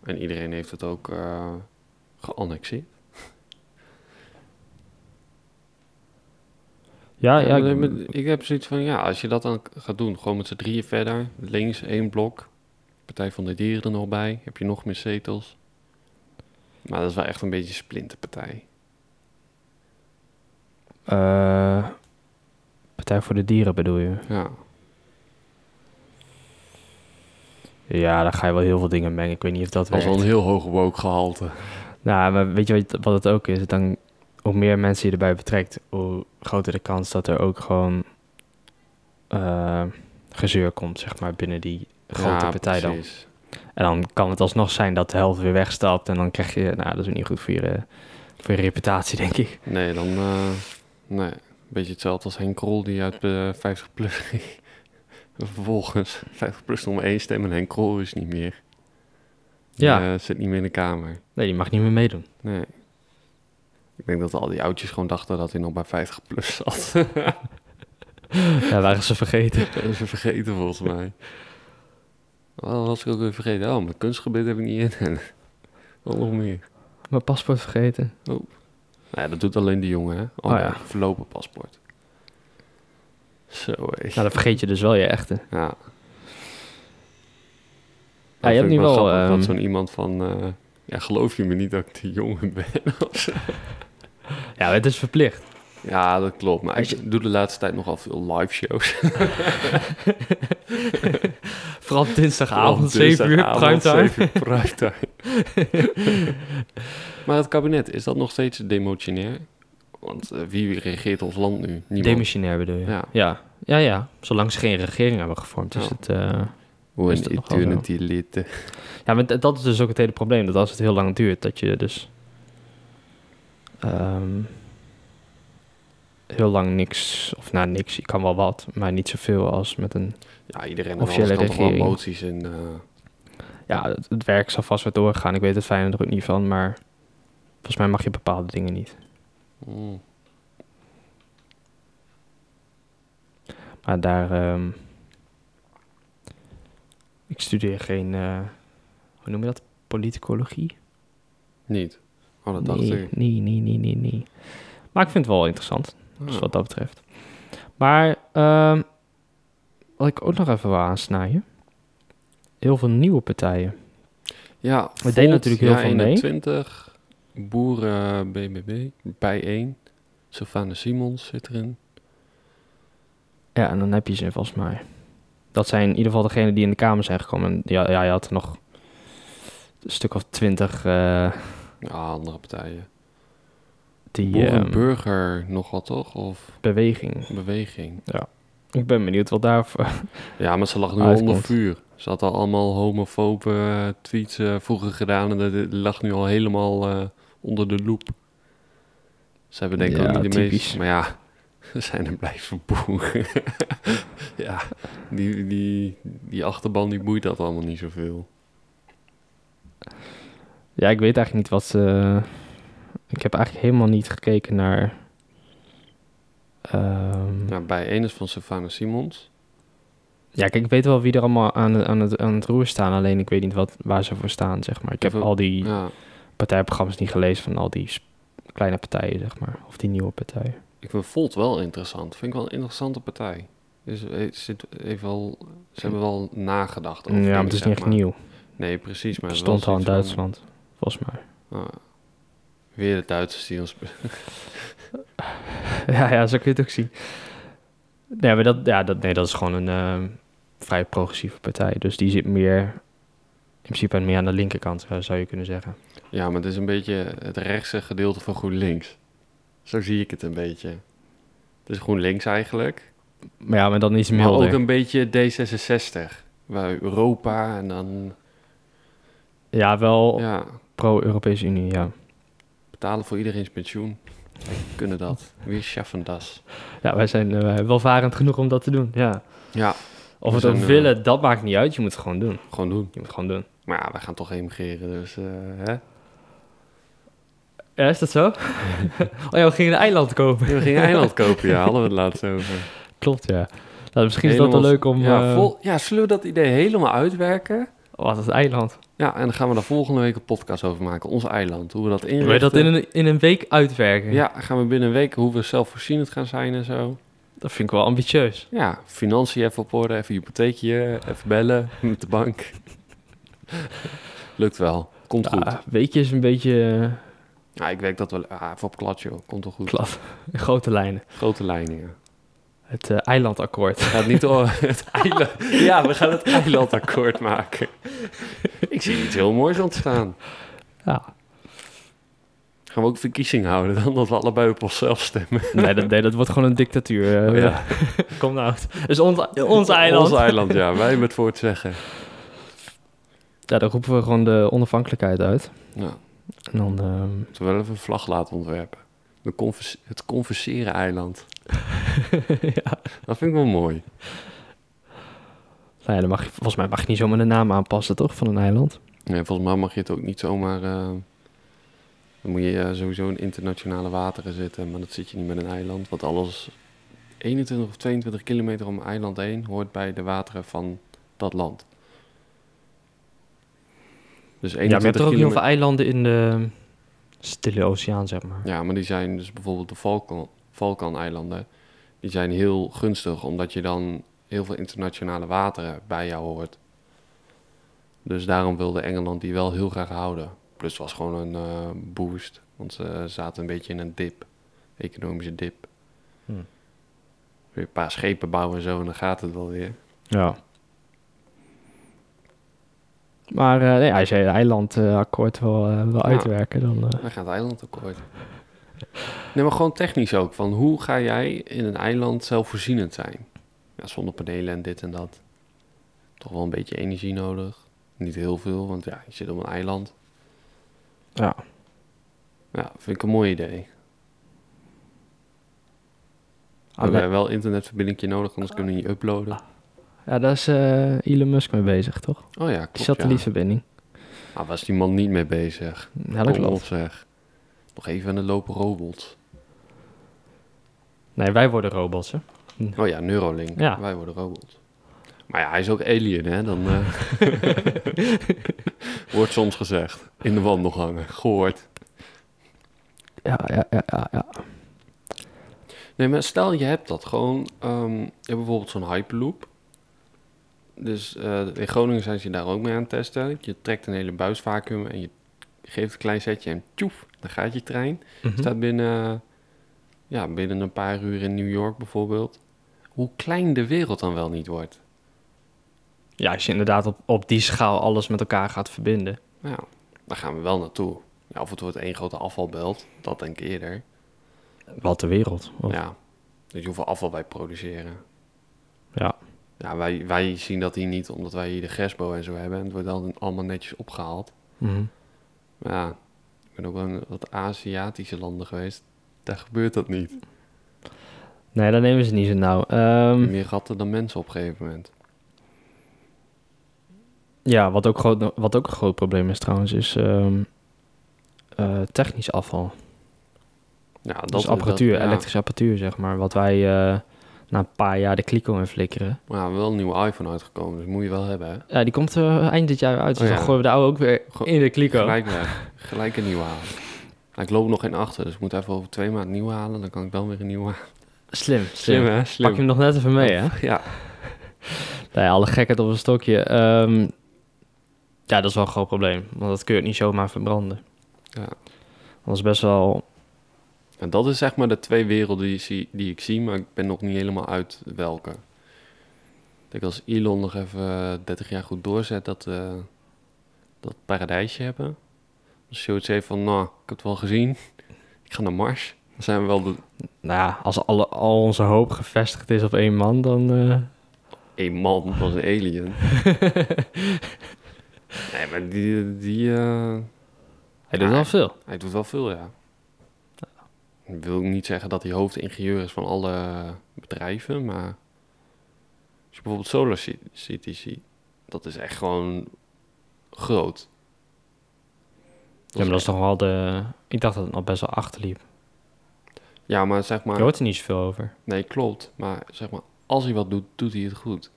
Speaker 1: en iedereen heeft het ook eh geannexeerd.
Speaker 2: Ja, ja.
Speaker 1: ik,
Speaker 2: ik-
Speaker 1: ik heb zoiets van, ja, als je dat dan gaat doen, gewoon met z'n drieën verder, links één blok, Partij van de Dieren er nog bij, heb je nog meer zetels. Maar dat is wel echt een beetje een splinterpartij.
Speaker 2: Eh, Partij voor de Dieren bedoel je?
Speaker 1: Ja,
Speaker 2: Ja, daar ga je wel heel veel dingen mengen. Ik weet niet of dat
Speaker 1: dat was
Speaker 2: werkt.
Speaker 1: wel een heel hoog woke gehalte.
Speaker 2: Nou, maar weet je wat, wat het ook is? Dan, hoe meer mensen je erbij betrekt, hoe groter de kans dat er ook gewoon eh, gezeur komt, zeg maar, binnen die grote partij dan.
Speaker 1: precies.
Speaker 2: En dan kan het alsnog zijn dat de helft weer wegstapt. En dan krijg je, nou, dat is niet goed voor je, eh, voor je reputatie, denk ik.
Speaker 1: Nee, dan... eh, nee, een beetje hetzelfde als Henk Krol die uit eh 50 plus ging. En Vervolgens, 50 plus nummer 1 stem en Henk Krol is niet meer. Die,
Speaker 2: Ja.
Speaker 1: eh, zit niet meer in de kamer.
Speaker 2: Nee, die mag niet meer meedoen.
Speaker 1: Nee. Ik denk dat al die oudjes gewoon dachten dat hij nog bij 50 plus zat.
Speaker 2: Ja, waren ze vergeten.
Speaker 1: Dat is vergeten volgens mij. Oh, was ik ook weer vergeten. Oh, mijn kunstgebied heb ik niet in. En wat nog meer.
Speaker 2: Mijn paspoort vergeten.
Speaker 1: Nou ja, dat doet alleen de jongen, hè? Oh,
Speaker 2: Oh,
Speaker 1: nee,
Speaker 2: ja.
Speaker 1: Verlopen paspoort. Zo, hé.
Speaker 2: Nou, dan vergeet je dus wel je echte.
Speaker 1: Ja.
Speaker 2: Ja, je hebt nu
Speaker 1: niet
Speaker 2: wel... ehm,
Speaker 1: Dat zo'n iemand van... eh, ja, geloof je me niet dat ik de jongen ben? Of zo.
Speaker 2: Ja, het is verplicht.
Speaker 1: ja, dat klopt. Maar ik doe de laatste tijd nogal veel live shows.
Speaker 2: Vooral dinsdagavond, 7 uur,
Speaker 1: Dinsdagavond,
Speaker 2: primetime.
Speaker 1: 7 uur, primetime. maar het kabinet, is dat nog steeds demotionair? Want eh, wie regeert ons land nu? Niemand.
Speaker 2: Demissionair bedoel je?
Speaker 1: Ja.
Speaker 2: ja. Ja, ja. Zolang ze geen regering hebben gevormd, is
Speaker 1: Ja.
Speaker 2: het... eh,
Speaker 1: Hoe
Speaker 2: Is
Speaker 1: een
Speaker 2: dat nog wel
Speaker 1: eternity lid. eh.
Speaker 2: Ja, maar d- dat is dus ook het hele probleem. Dat als het heel lang duurt, dat je dus... ehm, heel lang niks... Of nou, niks. Je kan wel wat, maar niet zoveel als met een...
Speaker 1: Ja, iedereen of
Speaker 2: Officiële
Speaker 1: kan toch wel
Speaker 2: regering.
Speaker 1: moties en... eh,
Speaker 2: Ja, het, het werk zal vast weer doorgaan. Ik weet het fijn er ook niet van, maar... Volgens mij mag je bepaalde dingen niet.
Speaker 1: mm.
Speaker 2: Maar daar... ehm, ik studeer geen... eh, hoe noem je dat? Politicologie?
Speaker 1: Niet. Oh, dat dacht
Speaker 2: nee,
Speaker 1: ik.
Speaker 2: nee, nee, nee, nee, nee. Maar ik vind het wel interessant, dus
Speaker 1: Ah.
Speaker 2: wat dat betreft. Maar ehm, wat ik ook nog even wil aansnijden. Heel veel nieuwe partijen.
Speaker 1: Ja,
Speaker 2: deden
Speaker 1: Volt,
Speaker 2: natuurlijk heel
Speaker 1: Ja
Speaker 2: veel mee.
Speaker 1: 21, Boeren BBB, Bijeen, Sylvana Simons zit erin.
Speaker 2: Ja, en dan heb je ze volgens mij. Dat zijn in ieder geval degenen die in de Kamer zijn gekomen. En ja, ja, je had er nog een stuk of twintig eh,
Speaker 1: Ja, andere partijen.
Speaker 2: die
Speaker 1: Boeren
Speaker 2: ehm,
Speaker 1: Burger nog wat, toch? Of
Speaker 2: beweging.
Speaker 1: Beweging.
Speaker 2: Ik ben benieuwd wat daarvoor...
Speaker 1: Ja, maar ze lag nu al
Speaker 2: Uitkomt.
Speaker 1: onder vuur. Ze had al allemaal homofobe eh, tweets eh, vroeger gedaan en dat dat lag nu al helemaal eh, onder de loep. Ze hebben denk ik
Speaker 2: Ja,
Speaker 1: ook niet de
Speaker 2: typisch.
Speaker 1: meest... Maar ja, ze zijn er blijven boeren. ja, die, die, die achterban die boeit dat allemaal niet zoveel.
Speaker 2: Ja, ik weet eigenlijk niet wat ze. Ik heb eigenlijk helemaal niet gekeken naar. ehm, ja.
Speaker 1: Nou, bij één is van Savannah Simons.
Speaker 2: kijk, ik weet wel wie er allemaal aan, het- aan, het, aan het roer staan. Alleen ik weet niet wat, waar ze voor staan, zeg maar. Ik heb
Speaker 1: Even-
Speaker 2: al die
Speaker 1: Ja,
Speaker 2: partijprogramma's niet gelezen van al die sp- kleine partijen, zeg maar. Of die nieuwe partijen.
Speaker 1: ik vind Volt wel interessant. Vind ik wel een interessante partij. Dus, eh, zit even wel, ze hebben wel nagedacht over
Speaker 2: Hm. ja, maar
Speaker 1: dingen,
Speaker 2: het is
Speaker 1: zeg
Speaker 2: niet echt nieuw.
Speaker 1: Nee, precies. Maar
Speaker 2: Het
Speaker 1: het
Speaker 2: stond
Speaker 1: was
Speaker 2: al in
Speaker 1: iets van-
Speaker 2: Duitsland, volgens mij.
Speaker 1: Ah. weer de Duitsers die ons...
Speaker 2: ja, ja, zo kun je het ook zien. Nee, maar dat, ja, dat, nee, dat is gewoon een eh, vrij progressieve partij. Dus die zit meer, in principe meer aan de linkerkant, eh, zou je kunnen zeggen.
Speaker 1: Ja, maar het is een beetje het rechtse gedeelte van GroenLinks. Zo zie ik het een beetje. Het is GroenLinks eigenlijk.
Speaker 2: Maar ja, maar dan iets
Speaker 1: Maar
Speaker 2: milder.
Speaker 1: ook een beetje D66. Waar Europa en dan...
Speaker 2: Ja, wel
Speaker 1: Ja,
Speaker 2: pro-Europese Unie, ja.
Speaker 1: betalen voor iedereen's pensioen. Wij kunnen dat. Wie schaffen das?
Speaker 2: Ja, wij zijn eh, welvarend genoeg om dat te doen, ja.
Speaker 1: Ja,
Speaker 2: Of we
Speaker 1: We
Speaker 2: het ook
Speaker 1: zijn, eh,
Speaker 2: willen, dat maakt niet uit. Je moet het gewoon doen.
Speaker 1: gewoon doen.
Speaker 2: Je moet het gewoon doen.
Speaker 1: Maar ja, we gaan toch emigreren, dus... eh, hè?
Speaker 2: Ja, is dat zo? oh ja, we gingen een eiland kopen.
Speaker 1: We gingen eiland kopen, ja. Hadden we het laatst over.
Speaker 2: Klopt, ja. Nou, misschien is dat wel
Speaker 1: Helemaal-
Speaker 2: leuk om...
Speaker 1: Ja,
Speaker 2: eh,
Speaker 1: vol, ja, zullen we dat idee helemaal uitwerken?
Speaker 2: Wat, het eiland?
Speaker 1: Ja, en dan gaan we daar volgende week een podcast over maken. Ons eiland, hoe we dat inrichten.
Speaker 2: Wil je dat in een, in een week uitwerken?
Speaker 1: eh, Ja, gaan we binnen een week hoe we zelfvoorzienend gaan zijn en zo.
Speaker 2: Dat vind ik wel ambitieus.
Speaker 1: Ja, financiën even op orde, even hypotheekje, even bellen met de bank. Lukt wel, komt goed.
Speaker 2: Ja, weet je, is Nou, een beetje eh,
Speaker 1: Ja, ik weet dat wel. Ah, even op klats, joh. Komt wel goed.
Speaker 2: plat. In grote lijnen.
Speaker 1: Grote lijnen, ja.
Speaker 2: Het eh, eilandakkoord.
Speaker 1: Gaat niet over het eiland. Ja, we gaan het eilandakkoord maken. Ik zie iets heel moois ontstaan.
Speaker 2: Ja.
Speaker 1: Gaan we ook verkiezingen houden dan dat we allebei op onszelf stemmen?
Speaker 2: Nee, dat, nee, dat wordt gewoon een dictatuur. eh.
Speaker 1: Oh, ja.
Speaker 2: Kom nou. Het is ons, ons eiland.
Speaker 1: Ons eiland, ja. Wij hebben het voor het zeggen.
Speaker 2: Ja, dan roepen we gewoon de onafhankelijkheid uit.
Speaker 1: Ja.
Speaker 2: En dan, ehm,
Speaker 1: Moeten we wel even een vlag laten ontwerpen. De convers- het converseren eiland.
Speaker 2: ja.
Speaker 1: Dat vind ik wel mooi.
Speaker 2: Nou ja, dan mag je, volgens mij mag je niet zomaar de naam aanpassen, toch, van een eiland?
Speaker 1: Nee, volgens mij mag je het ook niet zomaar... eh, dan moet je eh, sowieso in internationale wateren zitten. Maar dat zit je niet met een eiland. Want alles 21 of 22 kilometer om een eiland heen... hoort bij de wateren van dat land. Dus
Speaker 2: Ja, maar je hebt
Speaker 1: 21
Speaker 2: toch ook heel
Speaker 1: kilometer...
Speaker 2: veel eilanden in de stille oceaan, zeg maar.
Speaker 1: Ja, maar die zijn dus bijvoorbeeld de Valkan, Valkaneilanden. Die zijn heel gunstig, omdat je dan heel veel internationale wateren bij jou hoort. Dus daarom wilde Engeland die wel heel graag houden. Plus het was gewoon een eh, boost, want ze zaten een beetje in een dip. Economische dip.
Speaker 2: Hmm.
Speaker 1: Weer een paar schepen bouwen en zo, en dan gaat het wel weer.
Speaker 2: Ja. Maar eh, nee, als je een eilandakkoord wil, eh, wil
Speaker 1: Ja.
Speaker 2: uitwerken, dan... eh,
Speaker 1: Dan gaat het eiland akkoord. Nee, maar gewoon technisch ook. Van hoe ga jij in een eiland zelfvoorzienend zijn? Ja, zonnepanelen en dit en dat. Toch wel een beetje energie nodig. Niet heel veel, want ja, je zit op een eiland.
Speaker 2: ja.
Speaker 1: Ja, vind ik een mooi idee. We
Speaker 2: Alleen-
Speaker 1: hebben wel internetverbinding nodig, anders kunnen we niet uploaden.
Speaker 2: ja, daar is eh, Elon Musk mee bezig, toch?
Speaker 1: Oh ja,
Speaker 2: Die
Speaker 1: klopt. Ja.
Speaker 2: Satellietverbinding.
Speaker 1: Ah, was die man niet mee bezig?
Speaker 2: Elk
Speaker 1: Kom op,
Speaker 2: land.
Speaker 1: zeg. Nog even aan de lopen robots.
Speaker 2: Nee, wij worden robots, hè?
Speaker 1: Oh ja, Neuralink.
Speaker 2: Ja.
Speaker 1: Wij worden robots. Maar ja, hij is ook alien, hè? Dan eh, wordt soms gezegd. In de wandelgangen. Gehoord.
Speaker 2: Ja, ja, ja, ja. ja.
Speaker 1: Nee, maar stel je hebt dat gewoon. ehm, je hebt bijvoorbeeld zo'n Hyperloop. Dus eh, in Groningen zijn ze daar ook mee aan het testen. Je trekt een hele buisvacuüm en je geeft een klein setje en tjoef, dan gaat je trein.
Speaker 2: Mhm.
Speaker 1: Staat binnen, ja, binnen een paar uur in New York bijvoorbeeld. Hoe klein de wereld dan wel niet wordt.
Speaker 2: Ja, als je inderdaad op, op die schaal alles met elkaar gaat verbinden.
Speaker 1: Ja, daar gaan we wel naartoe. Ja, of het wordt één grote afvalbelt, dat denk ik eerder.
Speaker 2: Wat de wereld. Of-
Speaker 1: Ja, dus hoeveel afval wij produceren.
Speaker 2: Ja.
Speaker 1: Ja, wij, wij zien dat hier niet, omdat wij hier de Gresbo en zo hebben. En het wordt dan allemaal netjes opgehaald.
Speaker 2: Mhm.
Speaker 1: Maar ja, ik ben ook wel in wat Aziatische landen geweest. Daar gebeurt dat niet.
Speaker 2: Nee, dat nemen ze niet zo nauw. Ehm,
Speaker 1: Meer ratten dan mensen op een gegeven moment.
Speaker 2: ja, wat ook, groot, wat ook een groot probleem is trouwens, is ehm, eh, technisch afval.
Speaker 1: Ja, dat
Speaker 2: dus apparatuur,
Speaker 1: dat- ja.
Speaker 2: elektrische apparatuur, zeg maar. Wat wij eh, na een paar jaar de kliko in flikkeren.
Speaker 1: Maar ja, wel een nieuwe iPhone uitgekomen, dus moet je wel hebben, hè?
Speaker 2: Ja, die komt eh, eind dit jaar uit. Dus
Speaker 1: Oh,
Speaker 2: dan
Speaker 1: ja.
Speaker 2: gooien we de oude ook weer
Speaker 1: Go-
Speaker 2: in de kliko.
Speaker 1: Gelijk weg. Gelijk een nieuwe halen. Maar ik loop nog geen achter, dus ik moet even over twee maanden een nieuwe halen. Dan kan ik dan weer een nieuwe halen.
Speaker 2: Slim, slim.
Speaker 1: hè?
Speaker 2: Pak je hem nog net even mee, hè?
Speaker 1: Ja.
Speaker 2: Nee, alle gekheid op een stokje. Ehm, ja, dat is wel een groot probleem. Want dat kun je ook niet zomaar verbranden.
Speaker 1: Ja.
Speaker 2: Dat is best wel...
Speaker 1: En Nou, dat is zeg maar de twee werelden die, ik zie- die ik zie, maar ik ben nog niet helemaal uit welke. Ik denk als Elon nog even eh, 30 jaar goed doorzet, dat, eh, dat paradijsje hebben. Als zoiets heeft van, nou, ik heb het wel gezien. Ik ga naar Mars. Dan zijn we wel de
Speaker 2: Nou ja, als alle, al onze hoop gevestigd is op één man, dan... eh,
Speaker 1: Een man was een alien. nee, maar die... die eh,
Speaker 2: hij doet wel veel.
Speaker 1: Hij doet wel veel, ja. Ik wil niet zeggen dat hij hoofdingenieur is van alle bedrijven, maar als je bijvoorbeeld Solar Ci- City ziet, dat is echt gewoon groot.
Speaker 2: Ja, maar dat is toch wel de... Ik dacht dat het nog best wel achterliep.
Speaker 1: Ja, maar zeg
Speaker 2: Je
Speaker 1: maar,
Speaker 2: hoort er niet zoveel over.
Speaker 1: nee, klopt, maar zeg maar, als hij wat doet, doet hij het goed.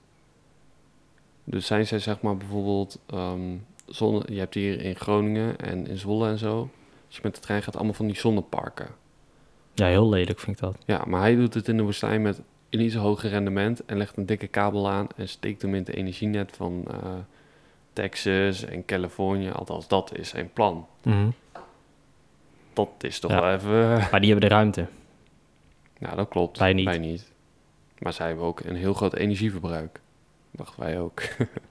Speaker 1: Dus zijn zij zeg maar bijvoorbeeld, ehm, zonne, je hebt hier in Groningen en in Zwolle en zo, als je met de trein gaat, allemaal van die zonneparken.
Speaker 2: Ja, heel lelijk vind ik dat.
Speaker 1: Ja, maar hij doet het in de woestijn met een iets hoger rendement en legt een dikke kabel aan en steekt hem in het energienet van eh, Texas en Californië. Althans, dat is zijn plan.
Speaker 2: Mhm.
Speaker 1: Dat is toch
Speaker 2: Ja.
Speaker 1: wel even. eh,
Speaker 2: Maar die hebben de ruimte.
Speaker 1: Nou, dat klopt.
Speaker 2: Wij niet.
Speaker 1: Maar zij hebben ook een heel groot energieverbruik. Dachten wij ook.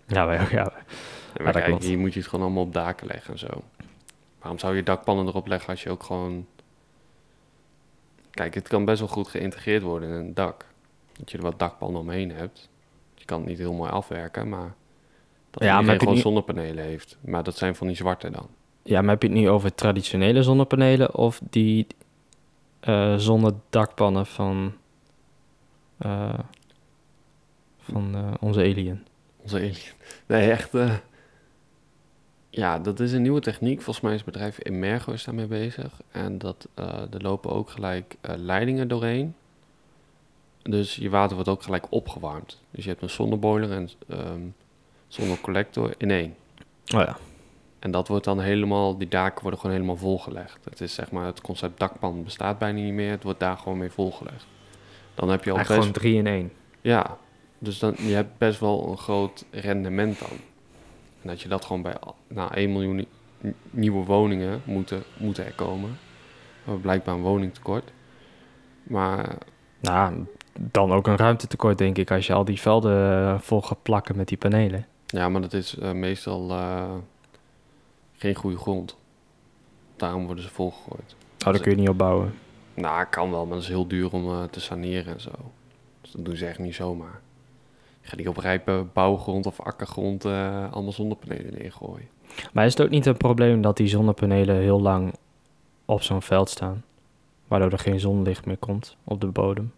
Speaker 2: Ja, wij ook. Ja.
Speaker 1: En
Speaker 2: Ja,
Speaker 1: maar
Speaker 2: dat
Speaker 1: kijk,
Speaker 2: klopt.
Speaker 1: hier moet je het gewoon allemaal op daken leggen en zo. Waarom zou je dakpannen erop leggen als je ook gewoon... Kijk, het kan best wel goed geïntegreerd worden in een dak. Dat je er wat dakpannen omheen hebt. Je kan het niet heel mooi afwerken, maar... Dat
Speaker 2: Ja, maar
Speaker 1: iedereen
Speaker 2: heb je
Speaker 1: gewoon
Speaker 2: niet-
Speaker 1: zonnepanelen heeft. Maar dat zijn van die zwarte dan.
Speaker 2: Ja, maar heb je het nu over traditionele zonnepanelen of die eh zonnedakpannen van, eh, van eh, onze alien?
Speaker 1: Onze alien. Nee, echt. eh, ja, dat is een nieuwe techniek. Volgens mij is het bedrijf Emergo is daarmee bezig. En dat, eh, er lopen ook gelijk eh, leidingen doorheen. Dus je water wordt ook gelijk opgewarmd. Dus je hebt een zonneboiler en ehm zonnecollector in één.
Speaker 2: Oh ja.
Speaker 1: En dat wordt dan helemaal, die daken worden gewoon helemaal volgelegd. Het is zeg maar, het concept dakpan bestaat bijna niet meer. Het wordt daar gewoon mee volgelegd. Dan heb je al
Speaker 2: Eigenlijk
Speaker 1: best...
Speaker 2: gewoon drie in één.
Speaker 1: Ja, dus dan, je hebt best wel een groot rendement dan. En dat je dat gewoon bij al- na 1 miljoen ni- n- nieuwe woningen moeten, moeten er komen. We hebben blijkbaar een woningtekort. Maar
Speaker 2: Nou, dan ook een ruimtetekort, denk ik, als je al die velden eh, vol gaat plakken met die panelen.
Speaker 1: ja, maar dat is eh, meestal eh, geen goede grond. Daarom worden ze volgegooid.
Speaker 2: Oh, daar kun je niet opbouwen.
Speaker 1: Nou, kan wel, maar dat is heel duur om eh, te saneren en zo. Dus dat doen ze echt niet zomaar. Ik ga niet op rijpe bouwgrond of akkergrond eh, allemaal zonnepanelen neergooien.
Speaker 2: Maar is het ook niet een probleem dat die zonnepanelen heel lang op zo'n veld staan? Waardoor er geen zonlicht meer komt op de bodem.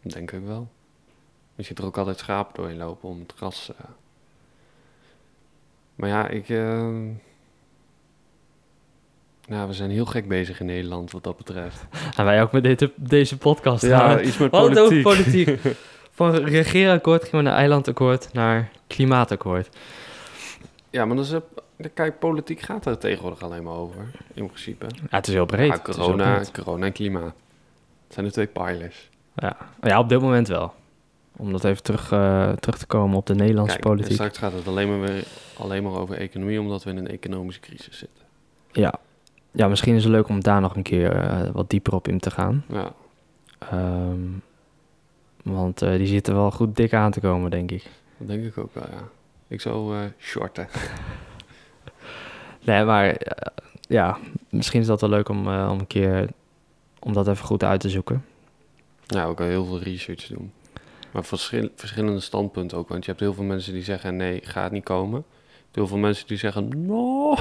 Speaker 1: Denk ik wel. Je ziet er ook altijd schapen doorheen lopen om het gras. eh. Maar ja, ik. eh, Nou, we zijn heel gek bezig in Nederland wat dat betreft.
Speaker 2: En wij ook met dit, deze podcast.
Speaker 1: Ja,
Speaker 2: gaan.
Speaker 1: iets met
Speaker 2: We hadden het
Speaker 1: politiek.
Speaker 2: over politiek. Van regeerakkoord gingen we naar eilandakkoord, naar klimaatakkoord.
Speaker 1: Ja, maar dat is, eh, de- kijk, politiek gaat er tegenwoordig alleen maar over, in principe.
Speaker 2: Ja, het is heel breed.
Speaker 1: Ja,
Speaker 2: Het is heel
Speaker 1: corona,
Speaker 2: breed.
Speaker 1: corona en klimaat. Het zijn de twee pijlers.
Speaker 2: Ja. ja, op dit moment wel. Om dat even terug, eh, terug te komen op de Nederlandse
Speaker 1: Kijk, dus en
Speaker 2: politiek.
Speaker 1: straks gaat het alleen maar, weer, alleen maar over economie, omdat we in een economische crisis zitten.
Speaker 2: Ja. ja, misschien is het leuk om daar nog een keer eh, wat dieper op in te gaan.
Speaker 1: Ja,
Speaker 2: Ehm, want eh, die zitten wel goed dik aan te komen, denk ik.
Speaker 1: dat denk ik ook wel, ja. Ik zou eh, shorten.
Speaker 2: Nee, maar eh, ja, misschien is dat wel leuk om, eh, om een keer om dat even goed uit te zoeken.
Speaker 1: Ja, ook al heel veel research doen. Maar verschil- verschillende standpunten ook. Want je hebt heel veel mensen die zeggen nee, gaat niet komen. Je hebt heel veel mensen die zeggen no.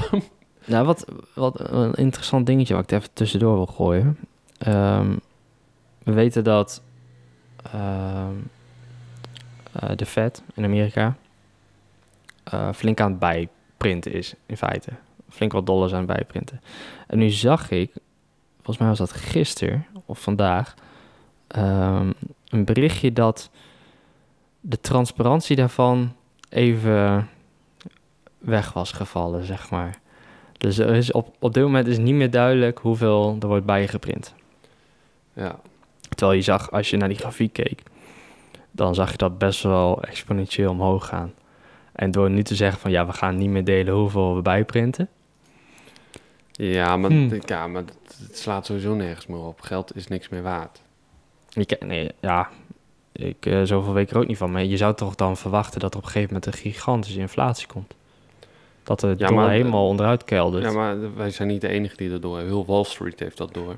Speaker 2: Nou, wat, wat een interessant dingetje wat ik er even tussendoor wil gooien. Ehm, we weten dat ehm, eh, de Fed in Amerika eh, flink aan het bijprinten is, in feite. Flink wat dollars aan het bijprinten. En nu zag ik, volgens mij was dat gisteren of vandaag, ehm, een berichtje dat de transparantie daarvan even weg was gevallen, zeg maar. Dus er is op, op dit moment is niet meer duidelijk hoeveel er wordt bijgeprint.
Speaker 1: Ja,
Speaker 2: Terwijl je zag, als je naar die grafiek keek, dan zag je dat best wel exponentieel omhoog gaan. En door nu te zeggen van ja, we gaan niet meer delen hoeveel we bijprinten.
Speaker 1: ja maar,
Speaker 2: Hmm.
Speaker 1: ja, maar het, het slaat sowieso nergens meer op. Geld is niks meer waard.
Speaker 2: Ik, nee, ja, ik, eh, zoveel weet ik er ook niet van. Maar je zou toch dan verwachten dat er op een gegeven moment een gigantische inflatie komt. Dat de dollar
Speaker 1: maar-
Speaker 2: helemaal onderuit keldert.
Speaker 1: Ja, maar wij zijn niet de enige die dat door hebben. Heel Wall Street heeft dat door.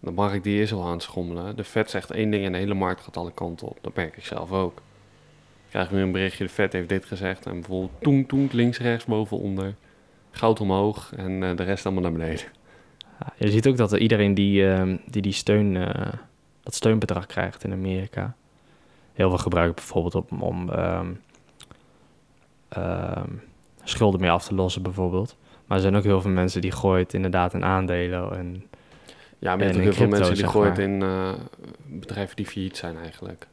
Speaker 1: De markt die is al aan het schommelen. De Fed zegt één ding en de hele markt gaat alle kanten op. Dat merk ik zelf ook. Ik krijg nu een berichtje, de Fed heeft dit gezegd. En bijvoorbeeld toen, toen, links, rechts, boven, onder. Goud omhoog en eh, de rest allemaal naar beneden.
Speaker 2: Ja, je ziet ook dat er iedereen die ehm, die, die steun, eh, dat steunbedrag krijgt in Amerika, heel veel gebruikt bijvoorbeeld op, om ehm, ehm, schulden mee af te lossen bijvoorbeeld. Maar er zijn ook heel veel mensen die gooien het inderdaad in aandelen. En,
Speaker 1: Ja, maar
Speaker 2: En
Speaker 1: je hebt
Speaker 2: in
Speaker 1: ook heel veel
Speaker 2: crypto,
Speaker 1: mensen die
Speaker 2: zeg
Speaker 1: gooien het in eh, bedrijven die failliet zijn eigenlijk.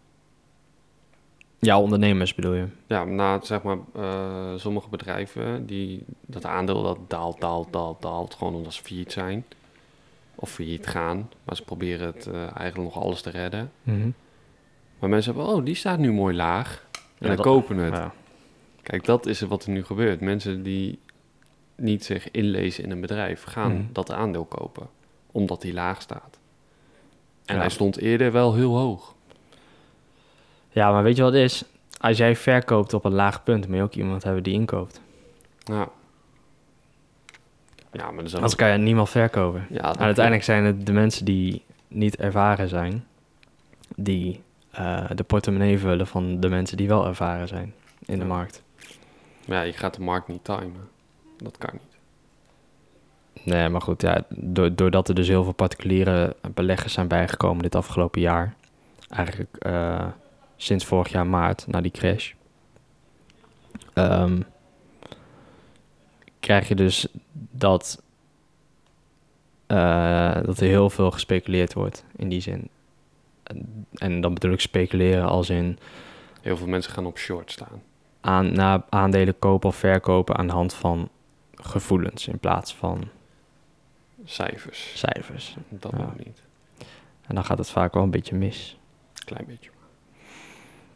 Speaker 2: ja, ondernemers bedoel je.
Speaker 1: Ja, na zeg maar eh, sommige bedrijven die dat aandeel dat daalt, daalt, daalt, daalt, gewoon omdat ze failliet zijn. Of failliet gaan, maar ze proberen het eh, eigenlijk nog alles te redden.
Speaker 2: Mhm.
Speaker 1: Maar mensen hebben, oh, die staat nu mooi laag. En
Speaker 2: Ja,
Speaker 1: dan
Speaker 2: dat-
Speaker 1: kopen het.
Speaker 2: Ja.
Speaker 1: Kijk, dat is wat er nu gebeurt. Mensen die niet zich inlezen in een bedrijf, gaan
Speaker 2: Mhm.
Speaker 1: dat aandeel kopen. Omdat hij laag staat. En
Speaker 2: Ja.
Speaker 1: hij stond eerder wel heel hoog.
Speaker 2: ja, maar weet je wat het is? Als jij verkoopt op een laag punt, moet je ook iemand hebben die inkoopt.
Speaker 1: Ja. Ja, maar dat is ook-
Speaker 2: Anders kan je niemand verkopen.
Speaker 1: Ja, dat-
Speaker 2: En uiteindelijk zijn het de mensen die niet ervaren zijn, die eh, de portemonnee vullen van de mensen die wel ervaren zijn in de
Speaker 1: Ja.
Speaker 2: markt.
Speaker 1: Maar ja, je gaat de markt niet timen. Dat kan niet.
Speaker 2: Nee, maar goed, ja, do- doordat er dus heel veel particuliere beleggers zijn bijgekomen dit afgelopen jaar, eigenlijk eh, sinds vorig jaar maart, na die crash, ehm, krijg je dus dat, eh, dat er heel veel gespeculeerd wordt in die zin. En- En dan bedoel ik speculeren als in
Speaker 1: Heel veel mensen gaan op short staan.
Speaker 2: aan, na aandelen kopen of verkopen aan de hand van gevoelens in plaats van
Speaker 1: Cijfers.
Speaker 2: cijfers.
Speaker 1: Dat
Speaker 2: Ja.
Speaker 1: moet niet.
Speaker 2: En dan gaat het vaak wel een beetje mis.
Speaker 1: Klein beetje.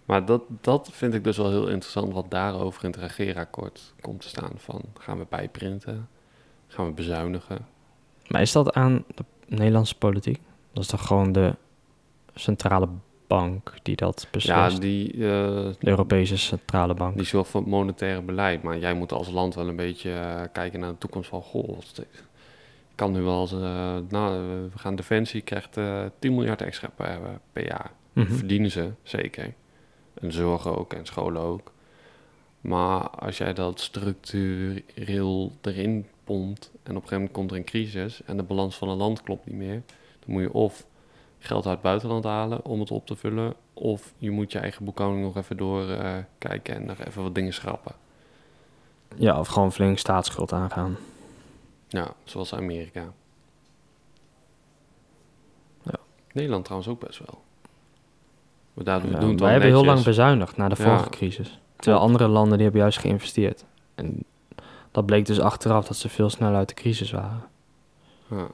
Speaker 1: Maar dat, dat vind ik dus wel heel interessant wat daarover in het regeerakkoord komt te staan. Van gaan we bijprinten? Gaan we bezuinigen?
Speaker 2: Maar is dat aan de Nederlandse politiek? Dat is toch gewoon de centrale bank die dat beslist?
Speaker 1: Ja, die, eh,
Speaker 2: de Europese centrale bank.
Speaker 1: die zorgt voor het monetaire beleid. Maar jij moet als land wel een beetje eh, kijken naar de toekomst van... Goh, als het- kan nu wel eens... eh, nou, eh, we gaan Defensie krijgt eh 10 miljard extra per, eh, per jaar.
Speaker 2: Mhm.
Speaker 1: verdienen ze, zeker. En zorgen ook en scholen ook. Maar als jij dat structureel erin pompt en op een gegeven moment komt er een crisis en de balans van een land klopt niet meer, dan moet je of geld uit het buitenland halen om het op te vullen, of je moet je eigen boekhouding nog even doorkijken en nog even wat dingen schrappen.
Speaker 2: Ja, of gewoon flink staatsschuld aangaan.
Speaker 1: Ja, zoals Amerika.
Speaker 2: Ja.
Speaker 1: Nederland trouwens ook best wel. Maar daardoor
Speaker 2: Ja,
Speaker 1: doen we het wel
Speaker 2: wij hebben heel lang
Speaker 1: netjes.
Speaker 2: bezuinigd na de
Speaker 1: Ja.
Speaker 2: vorige crisis. Terwijl andere landen die hebben juist geïnvesteerd. En dat bleek dus achteraf dat ze veel sneller uit de crisis waren.
Speaker 1: Ja.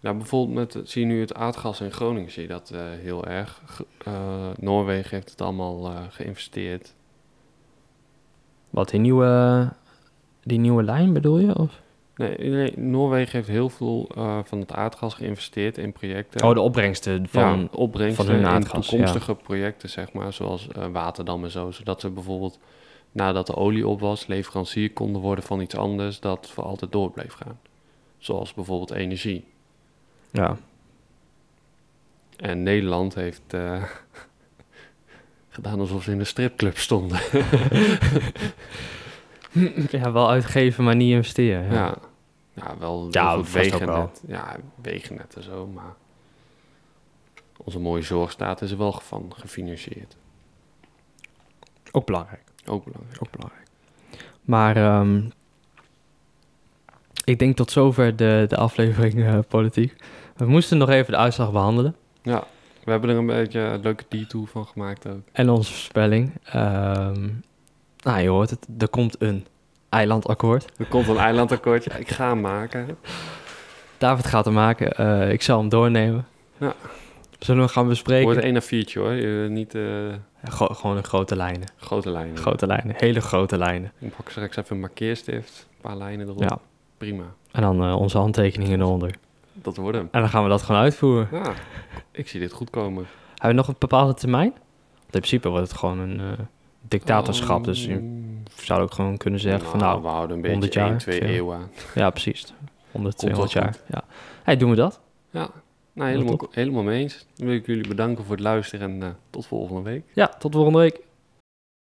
Speaker 1: Ja, bijvoorbeeld met, het- zie je nu het aardgas in Groningen, zie je dat eh, heel erg. Ge- eh, Noorwegen heeft het allemaal eh, geïnvesteerd.
Speaker 2: Wat, die nieuwe, die nieuwe lijn bedoel je? Of?
Speaker 1: Nee, nee, Noorwegen heeft heel veel eh, van het aardgas geïnvesteerd in projecten.
Speaker 2: Oh, de opbrengsten van...
Speaker 1: ja, opbrengsten
Speaker 2: van hun
Speaker 1: in
Speaker 2: aardgas,
Speaker 1: toekomstige projecten, zeg maar, zoals eh, Waterdam en zo. Zodat ze bijvoorbeeld, nadat de olie op was, leverancier konden worden van iets anders dat voor altijd door bleef gaan. Zoals bijvoorbeeld energie.
Speaker 2: ja.
Speaker 1: En Nederland heeft eh, gedaan alsof ze in een stripclub stonden.
Speaker 2: ja, wel uitgeven, maar niet investeren.
Speaker 1: Ja,
Speaker 2: ja.
Speaker 1: ja. wel heel
Speaker 2: Ja,
Speaker 1: goed
Speaker 2: vast ook
Speaker 1: wegennet.
Speaker 2: wel.
Speaker 1: Ja, wegennet en zo, maar onze mooie zorgstaat is er wel van gefinancierd.
Speaker 2: Ook belangrijk.
Speaker 1: Ook belangrijk.
Speaker 2: Ook belangrijk. Maar ehm, ik denk tot zover de, de aflevering eh, politiek. We moesten nog even de uitslag behandelen.
Speaker 1: Ja, we hebben er een beetje een leuke detour van gemaakt ook.
Speaker 2: En onze voorspelling. Ehm, nou, je hoort het. Er komt een eilandakkoord.
Speaker 1: Er komt een eilandakkoord. Ja, ik ga hem maken.
Speaker 2: David gaat hem maken. Eh, ik zal hem doornemen.
Speaker 1: Ja.
Speaker 2: Zullen we hem gaan bespreken?
Speaker 1: Wordt 1 naar 4 hoor. Eh, niet eh,
Speaker 2: Gro- gewoon in grote lijnen.
Speaker 1: grote lijnen.
Speaker 2: Grote lijnen. Hele grote lijnen.
Speaker 1: Ik pak straks even een markeerstift. Een paar lijnen erop.
Speaker 2: Ja.
Speaker 1: Prima.
Speaker 2: En dan eh, onze handtekeningen eronder.
Speaker 1: Dat wordt hem.
Speaker 2: En dan gaan we dat gewoon uitvoeren.
Speaker 1: Ja, ik zie dit goed komen.
Speaker 2: Hebben we nog een bepaalde termijn? Want in principe wordt het gewoon een eh, dictatorschap. Dus je
Speaker 1: Mm,
Speaker 2: zou ook gewoon kunnen zeggen van nou,
Speaker 1: we houden een
Speaker 2: 100
Speaker 1: beetje
Speaker 2: jaar,
Speaker 1: 1, 2
Speaker 2: ja.
Speaker 1: eeuwen aan.
Speaker 2: ja precies. 100,
Speaker 1: Komt
Speaker 2: 200
Speaker 1: wel
Speaker 2: jaar. Ja. Hey, doen we dat?
Speaker 1: Ja, nou, helemaal,
Speaker 2: top.
Speaker 1: helemaal mee eens. Dan wil ik jullie bedanken voor het luisteren en eh, tot volgende week.
Speaker 2: Ja, tot volgende week.